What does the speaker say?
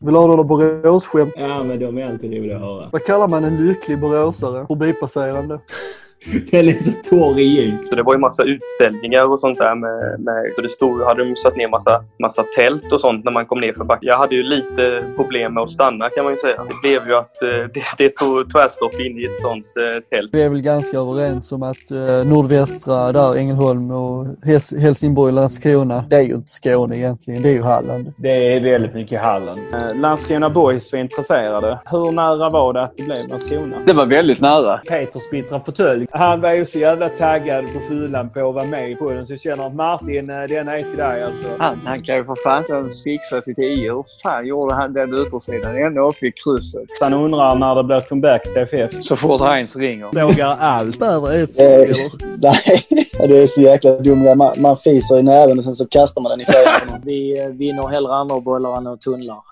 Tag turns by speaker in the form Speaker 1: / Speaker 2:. Speaker 1: Vill du höra några Boråsskämt?
Speaker 2: Ja, men de är alltid roliga att höra.
Speaker 1: Vad kallar man en lycklig boråsare? Forbipasserande.
Speaker 2: Den är så torr i jink.
Speaker 3: Så det var ju massa utställningar och sånt där med, med så det stod, hade de satt ner massa, massa tält och sånt när man kom ner för backen. Jag hade ju lite problem med att stanna kan man ju säga. Det blev ju att eh, det, det tog tvärstopp in i ett sånt eh, tält.
Speaker 1: Vi är väl ganska överens om att eh, nordvästra där, Ängelholm och Hes- Helsingborg, Landskrona, det är ju inte Skåne egentligen, det är ju Halland.
Speaker 4: Det är väldigt mycket Halland.
Speaker 5: Eh, Landskrona Boys var intresserade. Hur nära var det att det blev Landskrona?
Speaker 4: Det var väldigt nära.
Speaker 5: Peters bittra fåtölj. Han var ju så jävla taggad på fyllan på att vara med på den så jag känner att Martin, eh, den är till dig alltså.
Speaker 4: Han, han kan ju för fan inte ens fixa sitt i. Hur fan gjorde han den utersidan? Ändå fick krysset.
Speaker 5: Han undrar när det blir comeback till TFF.
Speaker 4: Så fort Heinz ringer.
Speaker 5: Frågar allt.
Speaker 1: Bäver är ett
Speaker 6: Eh, nej, det är så jäkla dum grej. Man, man fiser i näven och sen så kastar man den i fejan.
Speaker 7: Vi eh, vinner hellre andra bollar än att tunnlar.